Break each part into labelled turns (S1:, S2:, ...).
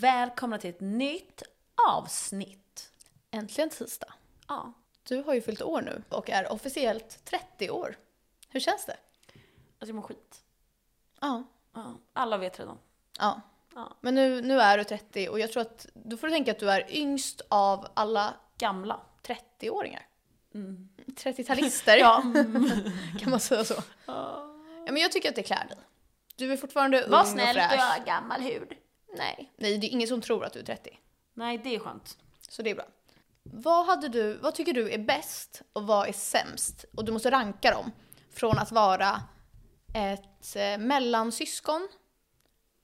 S1: Välkomna till ett nytt avsnitt.
S2: Äntligen tisdag.
S1: Ja. alltså
S2: Du har ju fyllt år nu och är officiellt 30 år. Hur känns det?
S1: Alltså jag mår skit.
S2: Ja.
S1: Ja. Alla vet redan.
S2: ja.
S1: Ja.
S2: Men nu, nu är du 30 och jag tror att du får tänka att du är yngst av alla
S1: Gamla.
S2: 30-åringar.
S1: Mm.
S2: 30-talister
S1: Ja.
S2: kan man säga så. Ja, men jag tycker att det klär dig. Du är fortfarande ung
S1: Var
S2: och
S1: snäll
S2: fräsch.
S1: och jag har gammal hud.
S2: Nej. Nej, det är ingen som tror att du är 30.
S1: Nej, det är skönt.
S2: Så det är bra. Vad, hade du, vad tycker du är bäst och vad är sämst? Och du måste ranka dem. Från att vara ett eh, mellansyskon,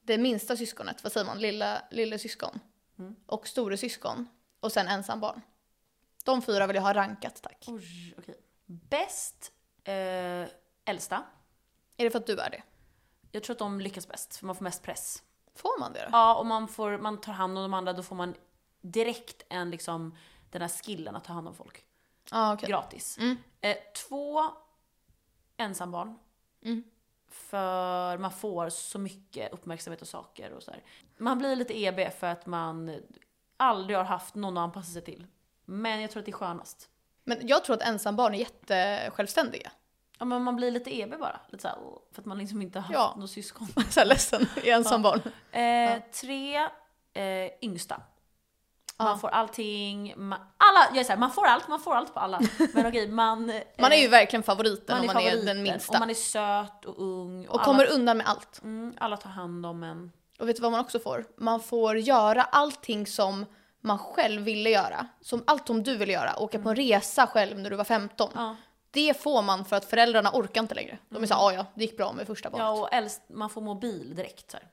S2: det minsta syskonet, vad säger man, lilla, lilla syskon
S1: Mm.
S2: och store syskon och sen ensambarn. De fyra vill jag ha rankat tack.
S1: Oj, okej. Bäst, eh, äldsta.
S2: Är det för att du är det?
S1: Jag tror att de lyckas bäst, för man får mest press.
S2: Får man det då?
S1: Ja, och man, får, man tar hand om de andra, då får man direkt en liksom, den här skillen att ta hand om folk.
S2: Ja, okej.
S1: Gratis.
S2: Mm.
S1: Eh, två ensambarn.
S2: Mm.
S1: För man får så mycket uppmärksamhet och saker och så här. Man blir lite EB för att man aldrig har haft någon att anpassa sig till. Men jag tror att det är skönast.
S2: Men jag tror att ensambarn är jättesjälvständiga.
S1: Ja men man blir lite EB bara. Lite så här, åh, för att man liksom inte har haft
S2: Ja.
S1: något syskon.
S2: Så här ledsen, är ensambarn.
S1: Eh, Tre eh, yngsta. Man
S2: Ja.
S1: får allting, man, alla, jag är så här, man får allt, man får allt på alla. Men okej, man, eh,
S2: Man är ju verkligen favoriten om man är
S1: favoriten,
S2: den
S1: Och
S2: minsta.
S1: man är söt och ung.
S2: och
S1: alla-
S2: kommer undan med allt.
S1: Mm, alla tar hand om en.
S2: Och vet du vad man också får? Man får göra allting som man själv ville göra. Som allt som du ville göra. Åka på en resa själv när du var 15.
S1: Mm. Ja.
S2: Det får man för att föräldrarna orkar inte längre. De är såhär, ja ja, det gick bra med första barnet.
S1: Ja
S2: Ja,
S1: och äldst, man får mobil direkt så här.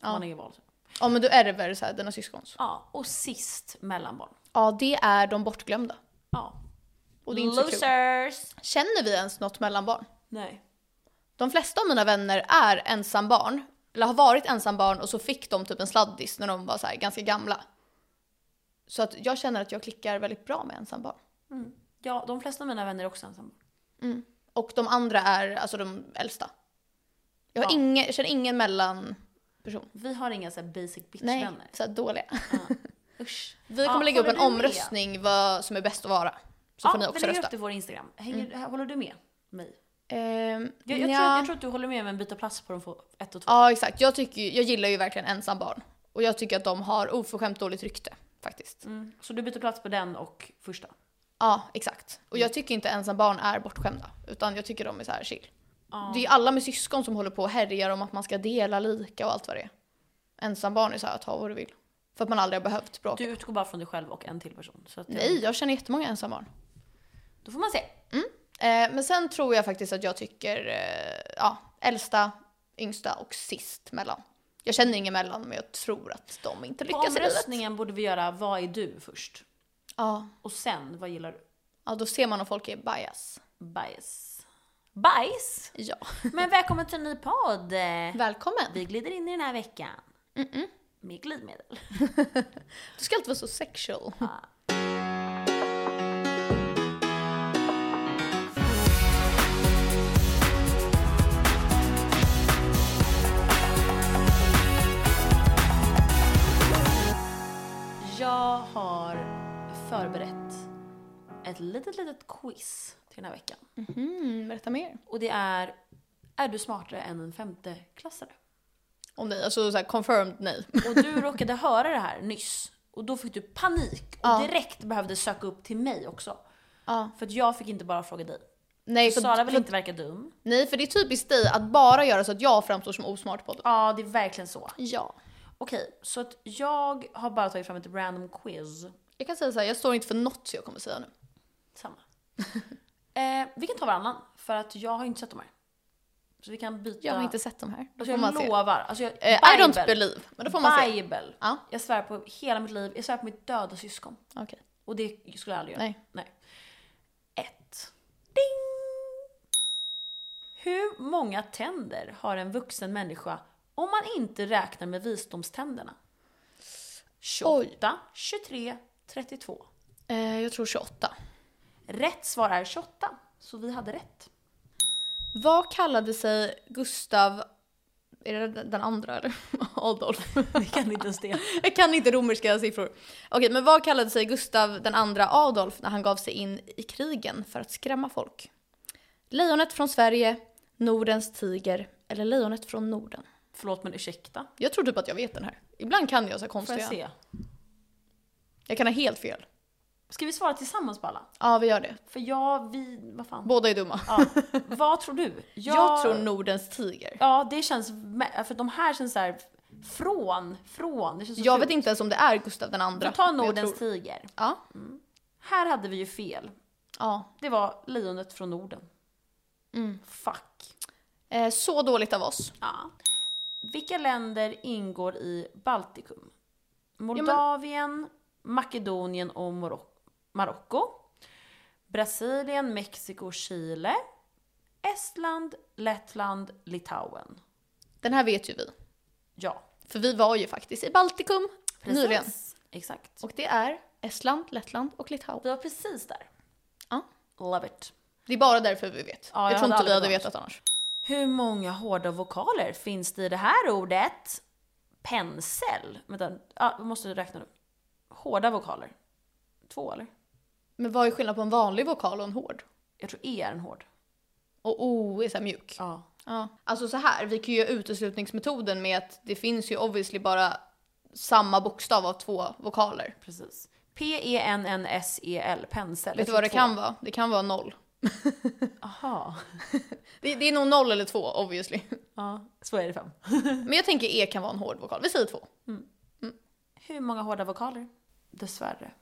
S2: Ja.
S1: Man är ju val.
S2: men du ärver så här, dina syskons.
S1: Ja, och sist mellanbarn.
S2: Ja, det är de bortglömda.
S1: Ja.
S2: Och det är inte så kul.
S1: Losers!
S2: Känner vi ens något mellanbarn?
S1: Nej.
S2: De flesta av mina vänner är ensambarn. Eller har varit ensambarn och så fick de typ en sladdis när de var så här, ganska gamla. Så att jag känner att jag klickar väldigt bra med ensambarn.
S1: Mm. Ja, de flesta av mina vänner är också ensamma.
S2: Mm. Och de andra är alltså de äldsta. Jag, har
S1: Ja.
S2: ingen, jag känner ingen mellanperson.
S1: Vi har inga så här basic
S2: Nej,
S1: bitch-vänner.
S2: så här dåliga.
S1: Usch.
S2: Vi
S1: Ja,
S2: kommer lägga upp
S1: håller
S2: en
S1: du med?
S2: omröstning vad som är bäst att vara. Så får ni
S1: vi
S2: också
S1: lägger
S2: rösta. Mm.
S1: upp det på vår Instagram. Hänger, Håller du med mig?
S2: Ehm,
S1: Jag, jag,
S2: nja.
S1: tror, jag tror att du håller med men byter plats på de få, ett och två.
S2: Ja exakt, jag, tycker, ju- jag gillar ju verkligen ensambarn. Och jag tycker att de har oförskämt dåligt rykte faktiskt.
S1: Mm. Så du byter plats på den och första?
S2: Ja exakt. Och jag tycker inte ensambarn är bortskämda. Utan jag tycker de är så här chill.
S1: Ja.
S2: Det är alla med syskon som håller på och härjar om att man ska dela lika och allt vad det är. Ensambarn är så här, ta vad du vill. För att man aldrig har behövt bråka.
S1: Du utgår bara från dig själv och en till person. Så att,
S2: Nej, jag känner jättemånga ensambarn.
S1: Då får man se.
S2: Eh, men sen tror jag faktiskt att jag tycker eh, ja, äldsta, yngsta och sist mellan. Jag känner ingen mellan men jag tror att de inte
S1: På
S2: lyckas i livet.
S1: omröstningen borde vi göra vad är du först?
S2: Ja,
S1: Och sen, vad gillar du?
S2: ja, då ser man om folk är bias.
S1: Bajs. Bajs?
S2: Ja.
S1: Men välkommen till en ny podd!
S2: Välkommen!
S1: Vi glider in i den här veckan. Med glidmedel.
S2: Du ska alltid vara så sexual.
S1: Jag har förberett ett litet, litet quiz till den här veckan.
S2: Mhm, berätta mer.
S1: Och det är, är du smartare än en femteklassare?
S2: Om dig, alltså så här, confirmed nej.
S1: Och du råkade höra det här nyss. Och då fick du panik och
S2: Ja.
S1: direkt behövde söka upp till mig också.
S2: Ja.
S1: För att jag fick inte bara fråga dig.
S2: Nej, för,
S1: Sara vill
S2: för,
S1: inte verka dum.
S2: nej, för det är typiskt dig att bara göra så att jag framstår som osmart på det.
S1: Ja, det är verkligen så.
S2: Ja.
S1: Okej, så att jag har bara tagit fram ett random quiz.
S2: Jag kan säga så här, jag står inte för något jag kommer säga nu.
S1: Samma. eh, vi kan ta varannan, för att jag har inte sett de här. Så vi kan byta.
S2: Jag har inte sett de här. Då
S1: alltså,
S2: får
S1: jag
S2: man se.
S1: lovar. Alltså, jag,
S2: Eh, I don't believe. Men då får man se.
S1: Bible.
S2: Ja.
S1: Jag svär på hela mitt liv. Jag svär på mitt döda syskon.
S2: Okej.
S1: Och det skulle jag aldrig göra.
S2: Nej.
S1: Nej. Ett. Ding! Hur många tänder har en vuxen människa om man inte räknar med visdomständerna? 28, 23, 32.
S2: Eh, jag tror 28.
S1: Rätt svar är 28, så vi hade rätt.
S2: Vad kallade sig Gustav Är det den andra eller? Adolf.
S1: Vi kan inte ens det.
S2: Jag kan inte romerska siffror. Okej, men vad kallade sig Gustav den andra Adolf när han gav sig in i krigen för att skrämma folk? Lejonet från Sverige, Nordens tiger eller lejonet från Norden?
S1: Förlåt men ursäkta.
S2: Jag tror typ att jag vet den här. Ibland kan jag så här
S1: Får jag
S2: konstiga. Jag,
S1: se?
S2: kan ha helt fel.
S1: Ska vi svara tillsammans på alla?
S2: Ja, vi gör det.
S1: För jag, vi, vad fan.
S2: Båda är dumma.
S1: Ja. Vad tror du?
S2: Jag, tror Nordens tiger.
S1: Ja, det känns, mä- för de här känns så här från, från. Det känns så
S2: Jag
S1: fult.
S2: vet inte ens om det är Gustav den andra.
S1: Vi tar
S2: men jag
S1: Nordens
S2: tror-
S1: tiger.
S2: Ja.
S1: Här hade vi ju fel.
S2: ja.
S1: Det var lejonet från Norden.
S2: Mm.
S1: Fuck.
S2: Eh, så dåligt av oss.
S1: Ja. Vilka länder ingår i Baltikum? Moldavien, Makedonien och Morock- Marocko. Brasilien, Mexiko, Chile. Estland, Lettland, Litauen.
S2: Den här vet ju vi.
S1: Ja,
S2: För vi var ju faktiskt i Baltikum
S1: precis.
S2: nyligen.
S1: Exakt.
S2: Och det är Estland, Lettland och Litauen.
S1: Vi var precis där.
S2: Ja.
S1: Love it.
S2: Det är bara därför vi vet.
S1: Ja, jag
S2: jag tror
S1: hade
S2: inte
S1: aldrig
S2: vi hade
S1: vetat.
S2: vetat annars.
S1: Hur många hårda vokaler finns det i det här ordet? Pensel. Vänta, ja, vi måste räkna nu. Hårda vokaler. Två eller?
S2: Men vad är skillnaden på en vanlig vokal och en hård?
S1: Jag tror E är en hård.
S2: Och O är så här mjuk. Ja.
S1: Ja.
S2: Alltså så här, vi kan ju göra uteslutningsmetoden med att det finns ju obviously bara samma bokstav av två vokaler.
S1: Precis. E P-E-N-N-S-E-L, pensel.
S2: Vet du vad det kan vara? Det kan vara noll.
S1: Aha.
S2: Det, det är nog noll eller två obviously.
S1: Ja, så är det fem.
S2: Men jag tänker E kan vara en hård vokal. Vi säger två.
S1: Hur många hårda vokaler? Dessvärre,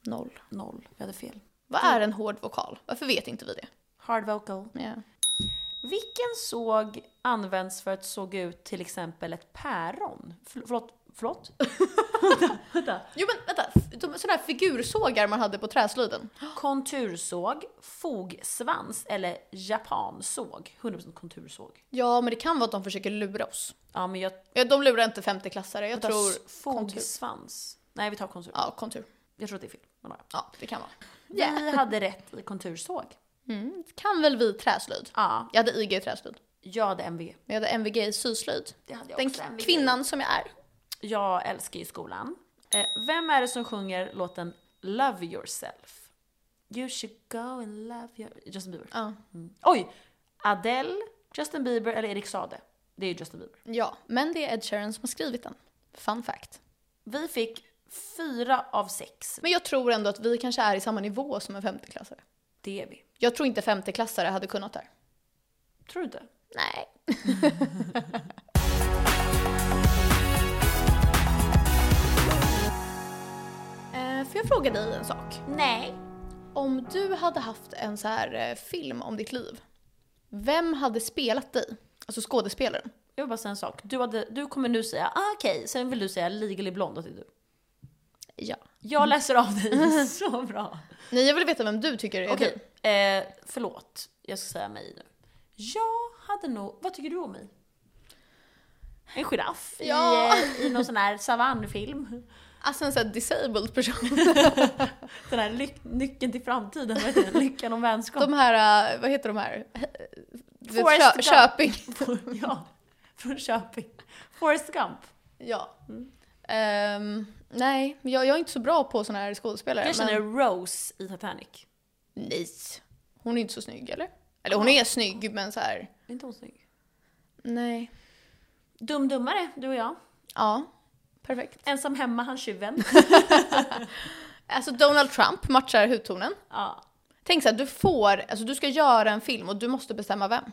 S2: Noll.
S1: noll. Vi hade fel.
S2: Vad är en hård vokal? Varför vet inte vi det?
S1: Hard vocal.
S2: Ja.
S1: Vilken såg används för att såga ut till exempel ett päron? Förl- Förlåt? Förlåt?
S2: Jo men vänta, de, sådana här figursågar man hade på träslöjden.
S1: Kontursåg, fogsvans eller japansåg? 100% kontursåg.
S2: Ja men det kan vara att de försöker lura oss.
S1: Ja, men jag,
S2: Ja, de lurar inte femteklassare, jag
S1: tar
S2: tror...
S1: s-
S2: kontur.
S1: fogsvans. Nej, vi tar kontur.
S2: Ja, kontur.
S1: Jag tror att det är fel. men ja.
S2: Ja, det kan vara.
S1: Vi hade rätt i kontursåg.
S2: Mm, kan väl vi träslöjd?
S1: Ja,
S2: Jag hade IG i träslöjd,
S1: jag hade MVG.
S2: men jag hade MVG i syslöjd.
S1: Det hade jag
S2: Den
S1: också. MVG.
S2: kvinnan som jag är.
S1: Jag älskar ju skolan. Eh, vem är det som sjunger låten Love yourself? You should go and love your... Justin Bieber. Mm.
S2: Ja.
S1: Oj! Adele, Justin Bieber eller Erik Sade? Det är ju Justin Bieber.
S2: ja, men det är Ed Sheeran som har skrivit den. Fun fact.
S1: Vi fick fyra av sex.
S2: Men jag tror ändå att vi kanske är i samma nivå som en femteklassare.
S1: Det är vi.
S2: Jag tror inte femteklassare hade kunnat det här.
S1: Tror du inte?
S2: Nej. Eh, Får jag fråga dig en sak?
S1: Nej.
S2: Om du hade haft en så här eh, film om ditt liv, vem hade spelat dig? Alltså skådespelaren.
S1: Jag vill bara säga en sak. Du, hade, du kommer nu säga ah, okej, sen vill du säga legally blond att det är du.
S2: Ja.
S1: Jag läser av dig så bra.
S2: Nej, jag vill veta vem du tycker är
S1: Okej,
S2: du.
S1: eh, förlåt. Jag ska säga mig nu. Jag hade nog, vad tycker du om mig? En giraff
S2: Ja.
S1: i, eh, i någon sån här savannfilm.
S2: Alltså en sån här disabled person.
S1: Den här ly- nyckeln till framtiden, vad heter det? Lyckan om vänskap.
S2: De här, eh, vad heter de här? Du vet,
S1: Forrest
S2: Kö-
S1: Gump.
S2: Köping.
S1: ja, från Köping. Forrest Gump.
S2: Ja. Mm. Ehm, nej, men jag, jag är inte så bra på såna här skådespelare.
S1: Jag känner
S2: men...
S1: Rose i Titanic.
S2: Nej. Hon är inte så snygg eller? Eller hon är snygg men så här.
S1: Är inte hon snygg?
S2: Nej.
S1: Dum Dummare, du och jag.
S2: Ja. Perfekt.
S1: Ensam hemma, han tjuven.
S2: Alltså Donald Trump matchar hudtonen.
S1: Ja.
S2: Tänk så här, du får, alltså du ska göra en film och du måste bestämma vem.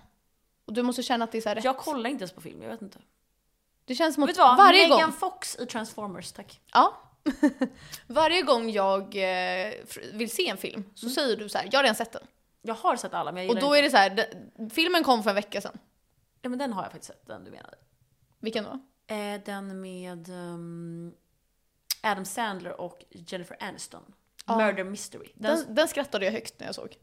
S2: Och du måste känna att det är så här rätt.
S1: Jag kollar inte ens på film, jag vet inte.
S2: Det känns som
S1: Vet
S2: att
S1: du vad?
S2: varje
S1: Megan
S2: gång...
S1: Fox i Transformers, tack.
S2: Ja. varje gång jag eh, fr- vill se en film så säger du så här, jag har redan sett den.
S1: Jag har sett alla men Mm. jag
S2: Och
S1: gillar
S2: då
S1: inte.
S2: är det så här, den, filmen kom för en vecka sedan.
S1: Ja men den har jag faktiskt sett, den du menade.
S2: Vilken då?
S1: Eh, den med ehm, Adam Sandler och Jennifer Aniston.
S2: Ja.
S1: Murder Mystery. Den, den...
S2: Den, den skrattade jag högt när jag såg.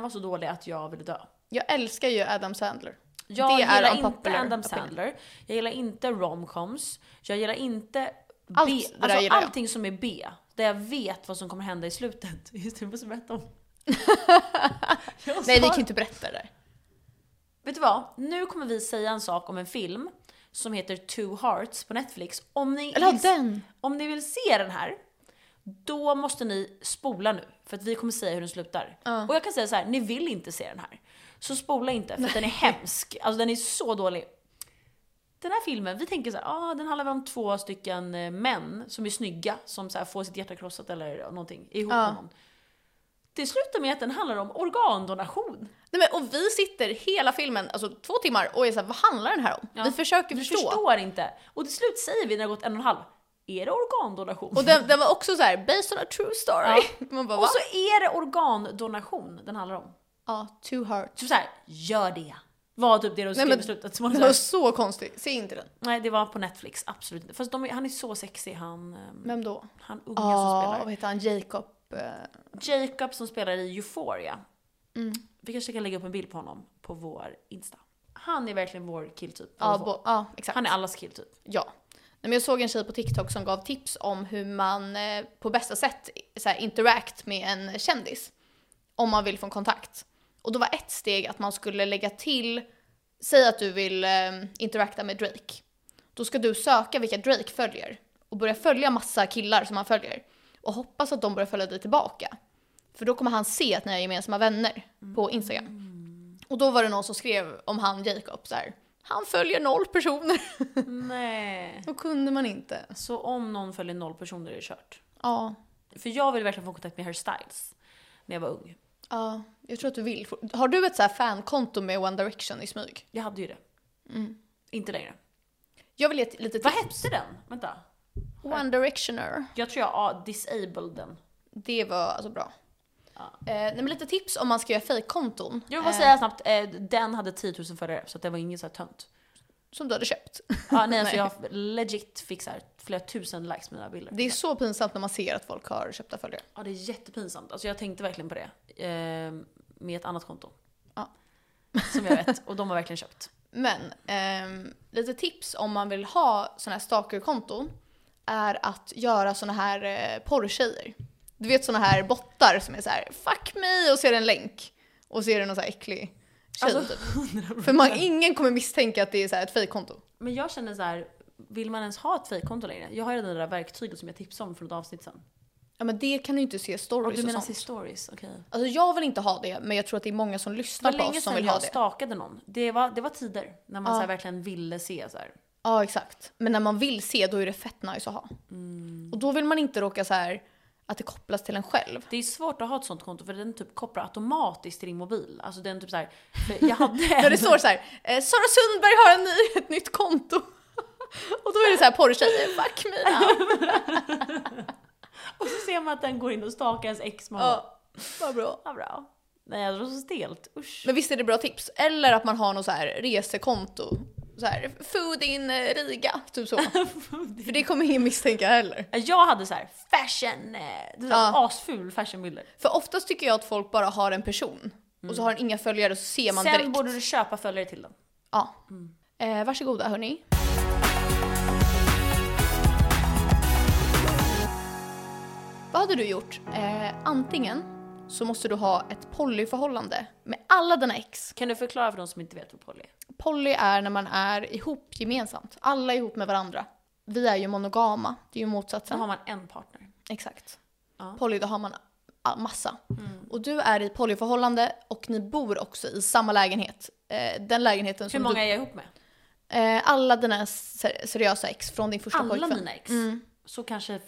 S1: var så dålig att jag ville dö.
S2: Jag älskar ju Adam Sandler.
S1: Jag
S2: Det är
S1: gillar inte
S2: unpopular
S1: Adam
S2: opinion.
S1: Sandler. Jag gillar inte romcoms. Jag gillar inte B.
S2: Allt det där
S1: alltså,
S2: gillar jag.
S1: allting som är B. Där jag vet vad som kommer hända i slutet. Just det, jag måste berätta om. Jag
S2: Nej vi
S1: sa- Alltså,
S2: kan ju inte berätta det där.
S1: Vet du vad? Nu kommer vi säga en sak om en film som heter Two Hearts på Netflix. Om ni,
S2: Eller ja,
S1: vill,
S2: den!
S1: om ni vill se den här, då måste ni spola nu. För att vi kommer säga hur den slutar.
S2: Ja.
S1: Och jag kan säga så här: ni vill inte se den här. Så spola inte, för att den är hemsk. Alltså den är så dålig. Den här filmen, vi tänker så här, ah, den handlar väl om två stycken eh, män som är snygga, som så här får sitt hjärta krossat eller någonting ihop
S2: Ja.
S1: med någon. Det slutar med att den handlar om organdonation.
S2: Nej, men, och vi sitter hela filmen, alltså två timmar, och är såhär, vad handlar den här om?
S1: Ja.
S2: Vi försöker
S1: Vi
S2: förstå.
S1: förstår inte. Och till slut säger vi när det har gått en och en halv, är det organdonation?
S2: Och den, den var också så här: based on a true story. Man bara,
S1: Och
S2: va?
S1: så är det organdonation den handlar om.
S2: Ja, two hearts.
S1: Typ såhär, gör det. Var typ det de skrev
S2: men-
S1: i slutet. Så man
S2: Det
S1: så här,
S2: var så konstigt, se inte den.
S1: nej, det var på Netflix, absolut inte. Fast de, är- han är så sexig, han, ehm,
S2: Vem då?
S1: han unga
S2: Ja,
S1: som
S2: vad heter han? Jacob? eh,
S1: spelar. Jacob som spelar i Euphoria.
S2: Mm.
S1: Vi kanske kan lägga upp en bild på honom på vår Insta. Han är verkligen vår killtyp.
S2: Ja,
S1: av vår-
S2: bo- ja, exakt.
S1: han är allas typ. killtyp.
S2: Ja. Nej, men jag såg en tjej på TikTok som gav tips om hur man eh, på bästa sätt så här, interact med en kändis. Om man vill få en kontakt. Och då var ett steg att man skulle lägga till, säg att du vill eh, interacta med Drake. Då ska du söka vilka Drake följer och börja följa massa killar som han följer. Och hoppas att de börjar följa dig tillbaka. För då kommer han se att ni är gemensamma vänner på Instagram. Och då var det någon som skrev om han Jacob så här. Han följer noll personer.
S1: Nej.
S2: Då kunde man inte.
S1: Så om någon följer noll personer är det kört.
S2: Ja.
S1: För jag ville verkligen få kontakt med Harry Styles när jag var ung.
S2: ja. Jag tror att du vill. få- Har du ett så här fankonto med One Direction i smyg?
S1: Jag hade ju det. Inte längre.
S2: Jag vill ge ett litet
S1: Mm. Vad
S2: tips.
S1: hette den? Vänta.
S2: One Directioner.
S1: Jag tror jag ah, disabled den.
S2: Det var alltså bra.
S1: Ja.
S2: Eh, nej, men lite tips om man ska göra fejkkonton.
S1: Jag vill bara säga snabbt, eh, den hade 10 000 följare så att det var ingen så här tönt.
S2: Som du hade köpt.
S1: Ah, nej, alltså
S2: Nej.
S1: jag legit fick så här flera tusen likes på mina bilder.
S2: Det är så pinsamt när man ser att folk har köpta följare.
S1: Ja, det är jättepinsamt. Alltså jag tänkte verkligen på det. Eh, med ett annat konto.
S2: Ja.
S1: Som jag vet. Och de har verkligen köpt.
S2: Men ehm, lite tips om man vill ha såna här stalkerkonton är att göra såna här eh, porrtjejer. Du vet såna här bottar som är så här “fuck me” och ser en länk och ser någon så här äcklig tjej
S1: Alltså,
S2: typ. För man, ingen kommer misstänka att det är så här ett fejkkonto.
S1: Men jag känner så här, vill man ens ha ett fejkkonto längre? Jag har ju redan det där verktyget som jag tipsade om för något avsnitt sen.
S2: Ja men det kan du inte se stories
S1: Och
S2: och,
S1: du menar
S2: sånt.
S1: se stories? Okej.
S2: Alltså jag vill inte ha det men jag tror att det är många som
S1: Det var
S2: lyssnar på
S1: länge
S2: oss som
S1: sedan
S2: vill ha
S1: jag
S2: det.
S1: stakade någon. Det var, det var tider när man
S2: Ja.
S1: så här verkligen ville se så här.
S2: Ja exakt. Men när man vill se då är det fett nice att ha. Och då vill man inte råka så här att det kopplas till en själv.
S1: Det är svårt att ha ett sånt konto för den typ kopplar automatiskt till din mobil. Alltså den typ så här, för jag hade
S2: När det
S1: en-
S2: står så här, eh, Sara Sundberg har en ny, ett nytt konto. Och då är det så här porrtjejer, fuck me now.
S1: och så ser man att den går in och stakar ens ex man bara,
S2: Ja, vad bra.
S1: "Vad bra. Nej, alltså, det var så stelt. Usch.
S2: Men visst är det bra tips? Eller att man har något så här resekonto. Så här, food in eh, Riga, typ så. För det kommer ingen misstänka heller.
S1: Jag hade så här fashion, eh, det var
S2: Ja.
S1: asful fashionbilder.
S2: För oftast tycker jag att folk bara har en person och så har den inga följare och så ser man
S1: Mm. Sen
S2: direkt.
S1: borde du köpa följare till Mm. den.
S2: Ja. Eh, varsågoda hörni. Vad hade du gjort? Eh, antingen så måste du ha ett polyförhållande med alla dina ex.
S1: Kan du förklara för de som inte vet vad poly är?
S2: Poly är när man är ihop gemensamt. Alla är ihop med varandra. Vi är ju monogama, det är ju
S1: Sen
S2: motsatsen.
S1: har man en partner.
S2: Exakt.
S1: Ja.
S2: Poly, då har man a- massa.
S1: Mm.
S2: Och du är i polyförhållande och ni bor också i samma lägenhet. Eh, den lägenheten
S1: Hur
S2: som
S1: många
S2: du...
S1: är jag ihop med?
S2: Eh, alla dina ser- seriösa ex från din första
S1: Alla
S2: pojkvän. Mm.
S1: mina ex. Så kanske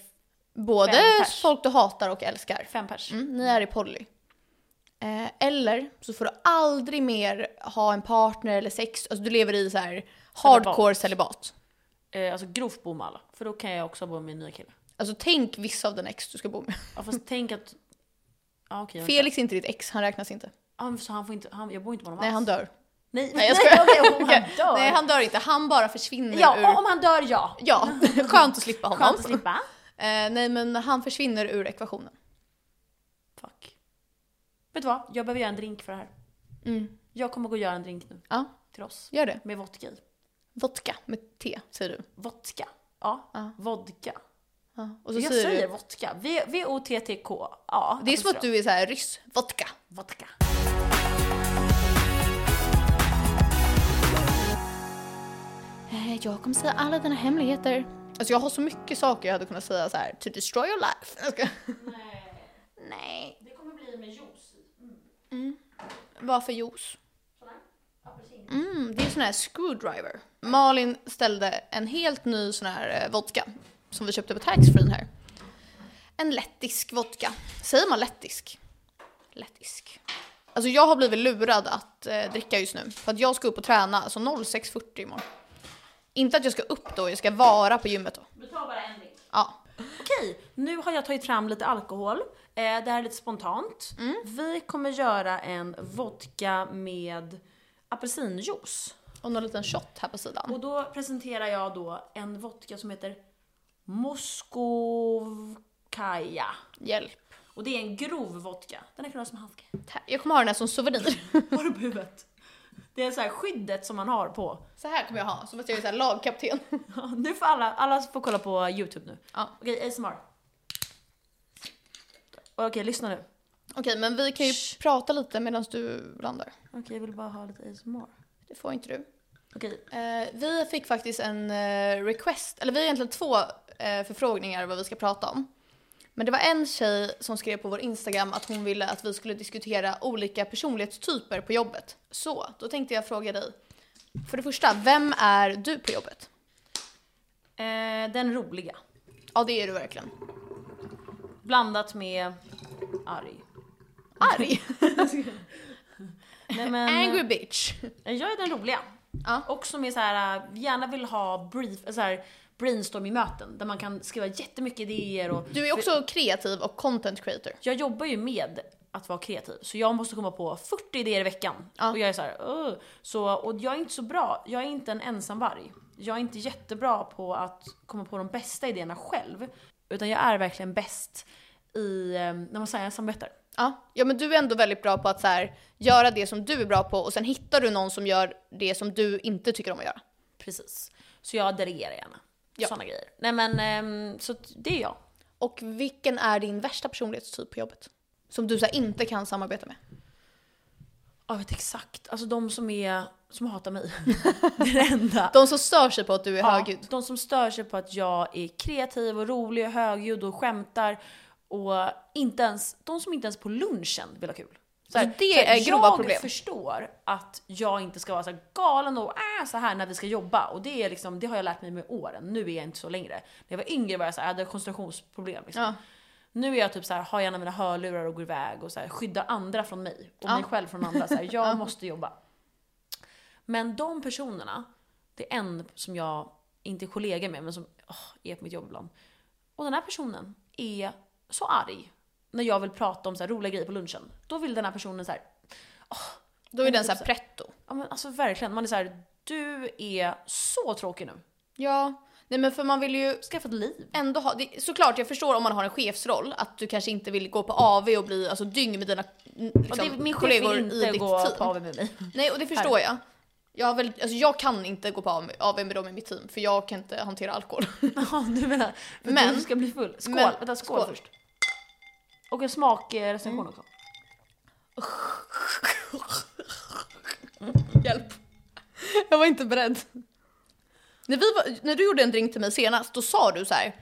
S2: Både
S1: Fem pers.
S2: folk du hatar och älskar.
S1: fem pers.
S2: Mm, ni är i poly. Eh, eller så får du aldrig mer ha en partner eller sex. Alltså du lever i så här hardcore celibat.
S1: Eh, alltså grovt bo med alla. För då kan jag också bo med en ny kille.
S2: Alltså tänk vissa av den ex du ska bo med.
S1: Ja, fast tänk att... Ja okej. vänta.
S2: Felix är inte ditt ex, han räknas inte.
S1: Ja, så han får inte... Han, jag bor inte med honom
S2: Nej
S1: alls.
S2: han dör.
S1: Nej,
S2: Nej jag skojar.
S1: okej, om han
S2: Okej.
S1: dör.
S2: Nej han dör inte, han bara försvinner
S1: ja,
S2: ur...
S1: om han dör ja.
S2: Ja, skönt att slippa honom.
S1: Skönt att slippa.
S2: Eh, nej men han försvinner ur ekvationen.
S1: Fuck. Vet du vad? Jag behöver göra en drink för det här.
S2: Mm.
S1: Jag kommer gå och göra en drink nu.
S2: Ja,
S1: Till oss.
S2: gör det.
S1: Med vodka i.
S2: Vodka med T säger du.
S1: Vodka. Ja.
S2: Ja.
S1: Vodka.
S2: Ja. Och så
S1: Jag
S2: säger,
S1: säger
S2: du,
S1: vodka. V- V-O-T-T-K. Ja.
S2: det är som att
S1: apostrof.
S2: du är så här ryss. Vodka.
S1: Vodka.
S2: Eh, eh, jag kommer säga alla dina hemligheter. Alltså jag har så mycket saker jag hade kunnat säga så här, to destroy your life. Jag ska-
S1: Nej,
S2: Nej.
S1: det kommer bli med juice
S2: Varför juice?
S1: Apelsin.
S2: Mm, det är sån här screwdriver. Malin ställde en helt ny sån här eh, vodka som vi köpte på taxfree här. En lettisk vodka. Säger man lettisk? Lettisk. Alltså jag har blivit lurad att eh, dricka just nu. För att jag ska upp och träna, alltså 06.40 imorgon. Inte att jag ska upp då, jag ska vara på gymmet då.
S1: Du tar bara en drink.
S2: Ja.
S1: Okej, nu har jag tagit fram lite alkohol. Eh, det här är lite spontant. Vi kommer göra en vodka med apelsinjuice.
S2: Och någon liten shot här på sidan.
S1: Och då presenterar jag då en vodka som heter Moskovkaja.
S2: Hjälp.
S1: Och det är en grov vodka. Den är klar som handske.
S2: Jag kommer ha den här som souvenir.
S1: Har du på huvudet? Det är så här skyddet som man har på.
S2: Så här kommer jag ha, som att jag är så här lagkapten.
S1: Ja, Nu får alla, alla får kolla på YouTube nu.
S2: Ja.
S1: Okej, ASMR. Okej, lyssna nu.
S2: Okej, men vi kan ju prata lite medan du blandar.
S1: Okej, jag vill bara ha lite ASMR.
S2: Det får inte du.
S1: Okej,
S2: Eh, vi fick faktiskt en eh, request, eller vi har egentligen två eh, förfrågningar vad vi ska prata om. Men det var en tjej som skrev på vår Instagram att hon ville att vi skulle diskutera olika personlighetstyper på jobbet. Så, då tänkte jag fråga dig. För det första, vem är du på jobbet?
S1: eh, den roliga.
S2: Ja, det är du verkligen.
S1: Blandat med arg.
S2: Arg.
S1: Nej, men,
S2: Angry bitch.
S1: eh, Jag är den roliga.
S2: Ja.
S1: Också med så här, eh, gärna vill ha brief, eh, så här, brainstorm i möten där man kan skriva jättemycket idéer och
S2: Du är också kreativ och content creator.
S1: jag jobbar ju med att vara kreativ, så jag måste komma på 40 idéer i veckan.
S2: Ja.
S1: Och jag är så här, "Ugh." så, och jag är inte så bra, jag är inte en ensamvarg. Jag är inte jättebra på att komma på de bästa idéerna själv. Utan jag är verkligen bäst i, eh, när man säger samarbetar.
S2: Ja. ja, men du är ändå väldigt bra på att så här, göra det som du är bra på och sen hittar du någon som gör det som du inte tycker om att göra.
S1: Precis. Så jag delegerar gärna.
S2: Ja.
S1: Såna grejer. Nej men, ehm, så att det är jag.
S2: Och vilken är din värsta personlighetstyp på jobbet? Som du så här, inte kan samarbeta med?
S1: Jag vet exakt, alltså de som är, som hatar mig. det är det enda.
S2: De som stör sig på att du är
S1: Ja,
S2: högljudd.
S1: De som stör sig på att jag är kreativ och rolig och högljudd och skämtar. Och inte ens, de som inte ens på lunchen vill ha kul. Så
S2: Alltså, det är grova
S1: jag
S2: problem.
S1: Jag förstår att jag inte ska vara så här galen och äh, så här när vi ska jobba. Och det, är liksom, det har jag lärt mig med åren. Nu är jag inte så längre. När jag var yngre var jag så här, jag hade koncentrationsproblem. Liksom.
S2: Ja.
S1: Nu är jag typ så här, har gärna mina hörlurar och går iväg och så här, skyddar andra från mig. Och
S2: Ja.
S1: mig själv från andra. Så här, jag måste jobba. Men de personerna, det är en som jag inte är kollega med men som åh, är på mitt jobb ibland. Och den här personen är så arg när jag vill prata om så här roliga grejer på lunchen. Då vill den här personen så här,
S2: Då är den så här pretto.
S1: typ ja men alltså verkligen, man är så här, du är så tråkig nu.
S2: Ja. Nej men för man vill ju
S1: Skaffa ett liv.
S2: ändå ha, det, såklart jag förstår om man har en chefsroll att du kanske inte vill gå på AV och bli alltså, dyng med dina mm,
S1: Och
S2: liksom,
S1: det, min chef
S2: kollegor
S1: vill
S2: i
S1: inte
S2: ditt
S1: gå
S2: team.
S1: på AW med mig.
S2: Nej, och det förstår jag. Jag, har väl, alltså jag kan inte gå på AV med- AV med dem i mitt team för jag kan inte hantera alkohol.
S1: Ja, du menar. För
S2: Men-
S1: du ska bli full. Skål,
S2: men-
S1: vänta skål,
S2: skål. Mm.
S1: först. Och en smakrecension också.
S2: Hjälp. Jag var inte beredd. När, vi var, när du gjorde en drink till mig senast då sa du så här.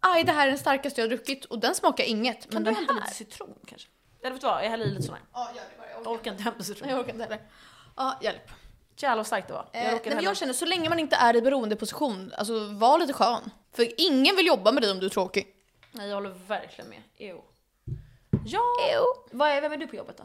S2: Aj, det här är den starkaste jag har druckit och den smakar inget. Men
S1: Men du
S2: den här...
S1: hämtar lite citron kanske? Ja, det vet du vad, jag häller i lite sån här.
S2: Ja, gör det bara. Jag
S1: Jag
S2: orkar,
S1: orkar inte hämta citron.
S2: Nej, jag orkar inte heller. Ja, hjälp.
S1: Jävlar vad starkt det var.
S2: Jag,
S1: Jag råkade
S2: Eh, men
S1: hälla.
S2: jag känner så länge man inte är i beroendeposition, alltså var lite skön. För ingen vill jobba med dig om du är tråkig.
S1: Nej, jag håller verkligen med. Ew. Ja! Vad är, vem är du på jobbet då?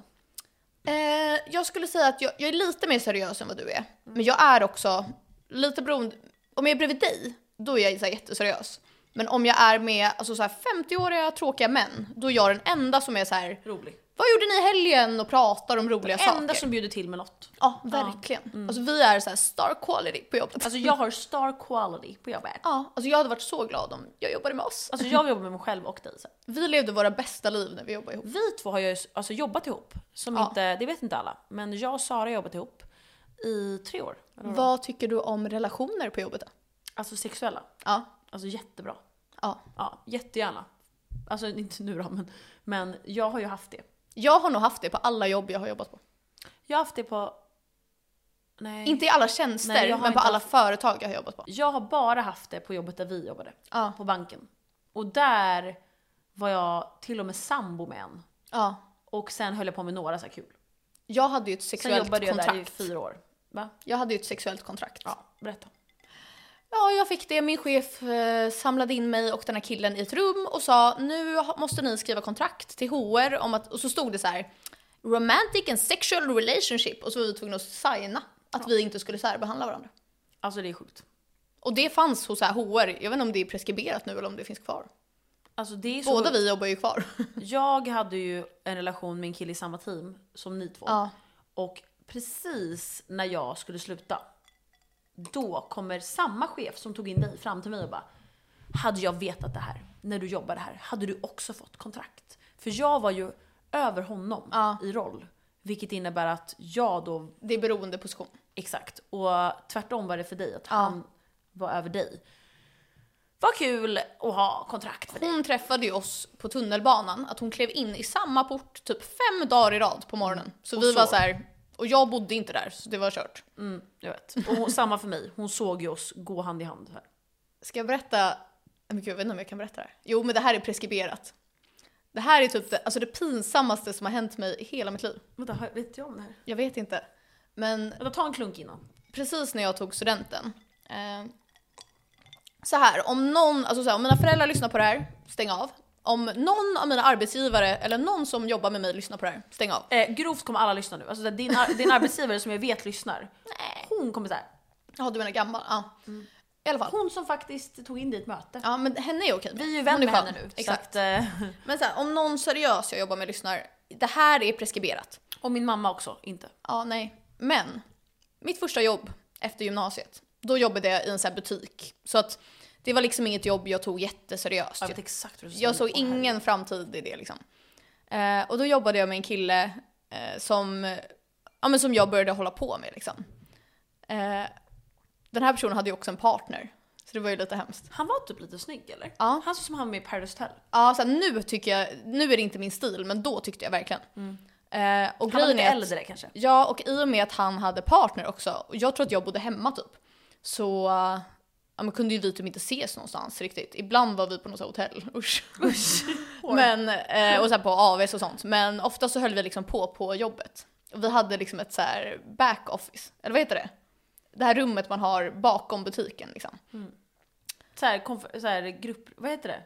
S2: Eh, jag skulle säga att jag, jag är lite mer seriös än vad du är. Men jag är också lite beroende. Om jag är bredvid dig, då är jag så här jätteseriös. Men om jag är med alltså så här 50-åriga tråkiga män, då är jag den enda som är så här.
S1: Rolig.
S2: Vad gjorde ni i helgen? Och pratar om roliga
S1: Enda
S2: saker.
S1: som bjuder till med något.
S2: Ja, verkligen. Alltså vi är så här star quality på jobbet.
S1: Alltså jag har star quality på jobbet.
S2: ja, alltså jag hade varit så glad om jag jobbade med oss.
S1: Alltså jag jobbar med mig själv och dig. Så. här.
S2: Vi levde våra bästa liv när vi jobbade ihop.
S1: Vi två har ju alltså, jobbat ihop, som
S2: Ja.
S1: inte, det vet inte alla. Men jag och Sara har jobbat ihop i tre år. Eller vad?
S2: Vad tycker du om relationer på jobbet då?
S1: Alltså sexuella.
S2: Ja,
S1: Alltså jättebra.
S2: ja.
S1: Ja, jättegärna. Alltså inte nu då, men, men jag har ju haft det.
S2: Jag har nog haft det på alla jobb jag har jobbat på.
S1: Jag har haft det på Nej.
S2: Inte i alla tjänster,
S1: Nej, jag har
S2: men på
S1: inte
S2: alla
S1: haft-
S2: företag jag har jobbat på.
S1: Jag har bara haft det på jobbet där vi jobbade.
S2: Ja.
S1: På banken. Och där var jag till och med sambo med en.
S2: ja.
S1: Och sen höll jag på med några så här kul.
S2: Jag hade ju ett
S1: Sen
S2: sexuellt
S1: jobbade jag
S2: kontrakt.
S1: där i fyra år. Va?
S2: Jag hade ju ett sexuellt kontrakt.
S1: Ja, berätta.
S2: Ja, jag fick det. Min chef eh, samlade in mig och den här killen i ett rum och sa nu ha- måste ni skriva kontrakt till HR om att, och så stod det så här romantic and sexual relationship och så var vi tvungna att signa att vi inte skulle särbehandla varandra.
S1: Alltså det är sjukt.
S2: Och det fanns hos så här HR, jag vet inte om det är preskriberat nu eller om det finns kvar.
S1: Alltså det är så...
S2: Båda vi jobbar ju kvar.
S1: Jag hade ju en relation med en kille i samma team som ni två.
S2: ja.
S1: Och precis när jag skulle sluta, då kommer samma chef som tog in dig fram till mig och bara Hade jag vetat det här när du jobbade här, hade du också fått kontrakt? För jag var ju över honom
S2: Ja.
S1: i roll. Vilket innebär att jag då,
S2: Det är beroendeposition.
S1: exakt, och tvärtom var det för dig, att han var över dig. Vad kul att ha kontrakt för dig.
S2: Hon träffade ju oss på tunnelbanan, att hon klev in i samma port typ fem dagar i rad på morgonen. Så
S1: Och
S2: vi
S1: så.
S2: var så här, och jag bodde inte där så det var kört.
S1: Mm, jag vet. Och hon, samma för mig, hon såg ju oss gå hand i hand här.
S2: Ska jag berätta? Men gud, jag vet inte om jag kan berätta det här. Jo, men det här är preskriberat. Det här är typ det, alltså det pinsammaste som har hänt mig i hela mitt liv.
S1: Vänta, har- vet jag om det här?
S2: Jag vet inte. Men
S1: Vänta, ta en klunk innan.
S2: precis när jag tog studenten. Eh, så här, om någon, alltså så här, om mina föräldrar lyssnar på det här, stäng av. Om någon av mina arbetsgivare eller någon som jobbar med mig lyssnar på det här, stäng av.
S1: Eh, grovt kommer alla lyssna nu. Alltså, din, ar- din arbetsgivare som jag vet lyssnar,
S2: Nej.
S1: hon kommer så här.
S2: Ja, du menar gammal? Ja. I alla fall.
S1: Hon som faktiskt tog in ditt möte.
S2: Mm. Ja, men henne är okej.
S1: Vi är ju
S2: Hon
S1: vän med
S2: skön.
S1: henne nu. så
S2: Exakt.
S1: att, eh,
S2: Men så här, om någon seriös jag jobbar med lyssnar, det här är preskriberat.
S1: och min mamma också, inte.
S2: Ja, nej. Men mitt första jobb efter gymnasiet, då jobbade jag i en sån här butik. Så att det var liksom inget jobb jag tog jätteseriöst.
S1: Jag
S2: Jag,
S1: vet exakt hur du
S2: jag såg
S1: Åh, herregud.
S2: ingen framtid i det liksom. Eh, och då jobbade jag med en kille eh, som, eh, ja, men som jag började hålla på med liksom. Eh, den här personen hade ju också en partner, så det var ju lite hemskt.
S1: Han var typ lite snygg eller?
S2: Ja.
S1: Han såg som han var med i Paradise Hotel.
S2: Ja, så här, nu tycker jag, nu är det inte min stil, men då tyckte jag verkligen. Eh, och
S1: Han var
S2: grejen
S1: lite
S2: är att-
S1: äldre kanske.
S2: Ja, och i och med att han hade partner också, och jag tror att jag bodde hemma typ, så eh, ja, men kunde ju vi typ inte ses någonstans riktigt. Ibland var vi på något så här hotell, usch. men, eh, och sen på AVs och sånt. Men ofta så höll vi liksom på på jobbet. Och vi hade liksom ett så här back office, eller vad heter det? Det här rummet man har bakom butiken liksom.
S1: Så här, konf- så här grupp... Vad heter det?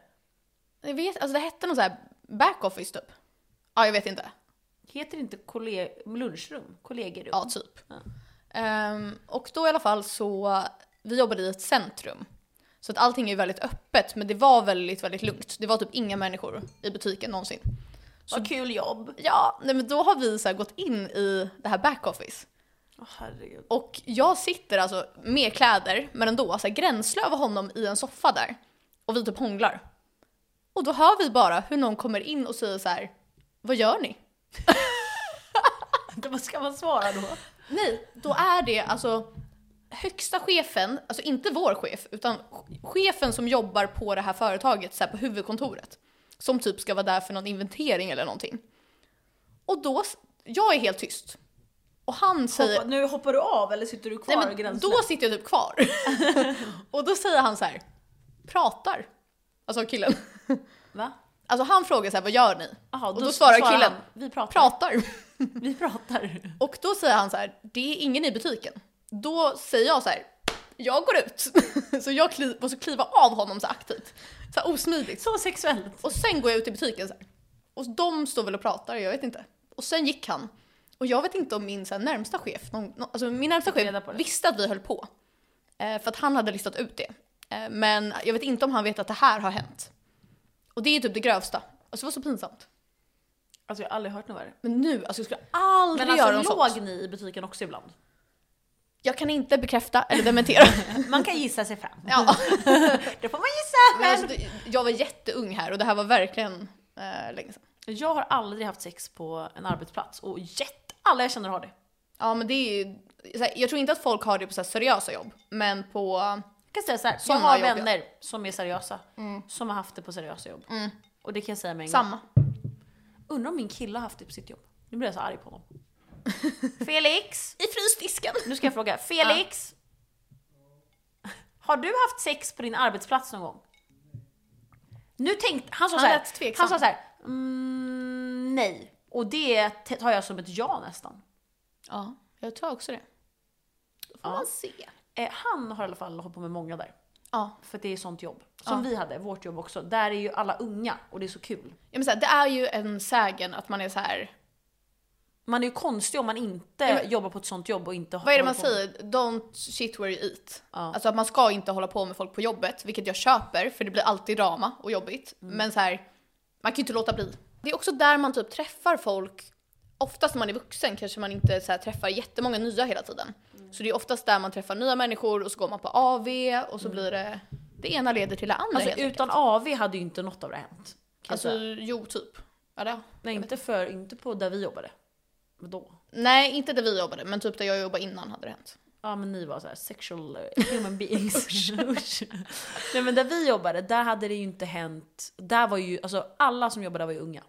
S2: Jag vet, alltså det hette något så här back office typ. Ja, jag vet inte.
S1: Heter det inte kolle- lunchrum? Kollegerum?
S2: Ja, typ.
S1: Ja.
S2: Ehm, och då i alla fall så, vi jobbade i ett centrum. Så att allting är ju väldigt öppet, men det var väldigt, väldigt lugnt. Det var typ inga människor i butiken någonsin.
S1: Vad kul jobb.
S2: Ja, nej men då har vi så här gått in i det här backoffice.
S1: Åh herregud.
S2: Och jag sitter alltså med kläder, men ändå, så här gränslöv av honom i en soffa där. Och vi typ hånglar. Och då hör vi bara hur någon kommer in och säger så här, vad gör ni?
S1: Vad ska man svara då?
S2: Nej, då är det alltså högsta chefen, alltså inte vår chef, utan ch- chefen som jobbar på det här företaget, så här på huvudkontoret. Som typ ska vara där för någon inventering eller någonting. Och då, s- jag är helt tyst. Och han säger,
S1: Hoppa, nu hoppar du av eller sitter du kvar
S2: nej men
S1: gränslöst?
S2: då sitter jag typ kvar. och då säger han så här, pratar. Alltså killen.
S1: Va?
S2: Alltså han frågar så här, vad gör ni?
S1: Aha,
S2: Och då svarar
S1: han,
S2: killen,
S1: vi pratar.
S2: Pratar.
S1: Vi pratar.
S2: Och då säger han så här, det är ingen i butiken. Då säger jag så här, jag går ut. Så jag kliv, måste kliva av honom så aktivt. Så här osmidigt.
S1: Så sexuellt.
S2: Och sen går jag ut i butiken så här. Och de står väl och pratar, jag vet inte. Och sen gick han. Och jag vet inte om min så här, närmsta chef, någon, någon, alltså min närmsta
S1: Fick reda
S2: chef
S1: på det.
S2: visste att vi höll på. Eh, för att han hade listat ut det. Eh, men jag vet inte om han vet att det här har hänt. Och det är ju typ det grövsta. Alltså det var så pinsamt.
S1: Alltså jag har aldrig hört något värre.
S2: Men nu, alltså jag skulle
S1: Men
S2: aldrig göra något
S1: alltså
S2: sånt.
S1: låg ni i butiken också ibland?
S2: Jag kan inte bekräfta eller dementera.
S1: Man kan gissa sig fram.
S2: ja.
S1: Det får man gissa
S2: Men alltså, det- jag var jätteung här och det här var verkligen eh, länge sedan.
S1: alltså, Jag har aldrig haft sex på en arbetsplats och jätte... alla jag känner har det.
S2: Ja men det är ju, så här, jag tror inte att folk har det på så här seriösa jobb, men på...
S1: Jag kan säga så här, jag
S2: Såna
S1: har Mm.
S2: jobb, ja.
S1: vänner som är seriösa. Som har haft det på seriösa jobb. Och det kan jag säga med en gång.
S2: Samma.
S1: typ Undrar om min kille har haft det på sitt jobb. Nu blir jag så arg på honom. Felix!
S2: I frysdisken!
S1: Nu ska jag fråga. Felix! Har du haft sex på din arbetsplats någon gång? Nu tänkte... Han sa
S2: Han
S1: såhär...
S2: lät tveksam.
S1: Han sa såhär... Mm, nej. Och det tar jag som ett ja nästan.
S2: Ja, jag tror också det. Då
S1: Ja.
S2: får man se.
S1: Eh, han har i alla fall hållit på med många där.
S2: Ja.
S1: För det är sånt jobb. Som
S2: Ja.
S1: vi hade, vårt jobb också. Där är ju alla unga och det är så kul.
S2: Ja, men så här, det är ju en sägen att man är så här.
S1: Man är ju konstig om man inte
S2: Ja, men-
S1: jobbar på ett sånt jobb och inte
S2: vad är
S1: håller
S2: det man
S1: på med-
S2: säger? Don't shit where you eat.
S1: Ja.
S2: Alltså att man ska inte hålla på med folk på jobbet, vilket jag köper för det blir alltid drama och jobbigt. Men så här, man kan ju inte låta bli. Det är också där man typ träffar folk. Oftast när man är vuxen kanske man inte så här träffar jättemånga nya hela tiden. Så det är oftast där man träffar nya människor och så går man på AV och så blir det det ena leder till det andra
S1: Alltså
S2: helt enkelt.
S1: utan AV hade ju inte något av det hänt. kan jag
S2: Alltså
S1: säga.
S2: jo, typ. Ja, det.
S1: Nej, inte, för, inte på där vi jobbade. Men då?
S2: Nej, inte där vi jobbade, men typ där jag jobbade innan hade det hänt.
S1: Ja men ni var så här sexual eh, human beings. Usch. Nej men där vi jobbade, där hade det ju inte hänt. Där var ju, alltså alla som jobbade där var ju unga.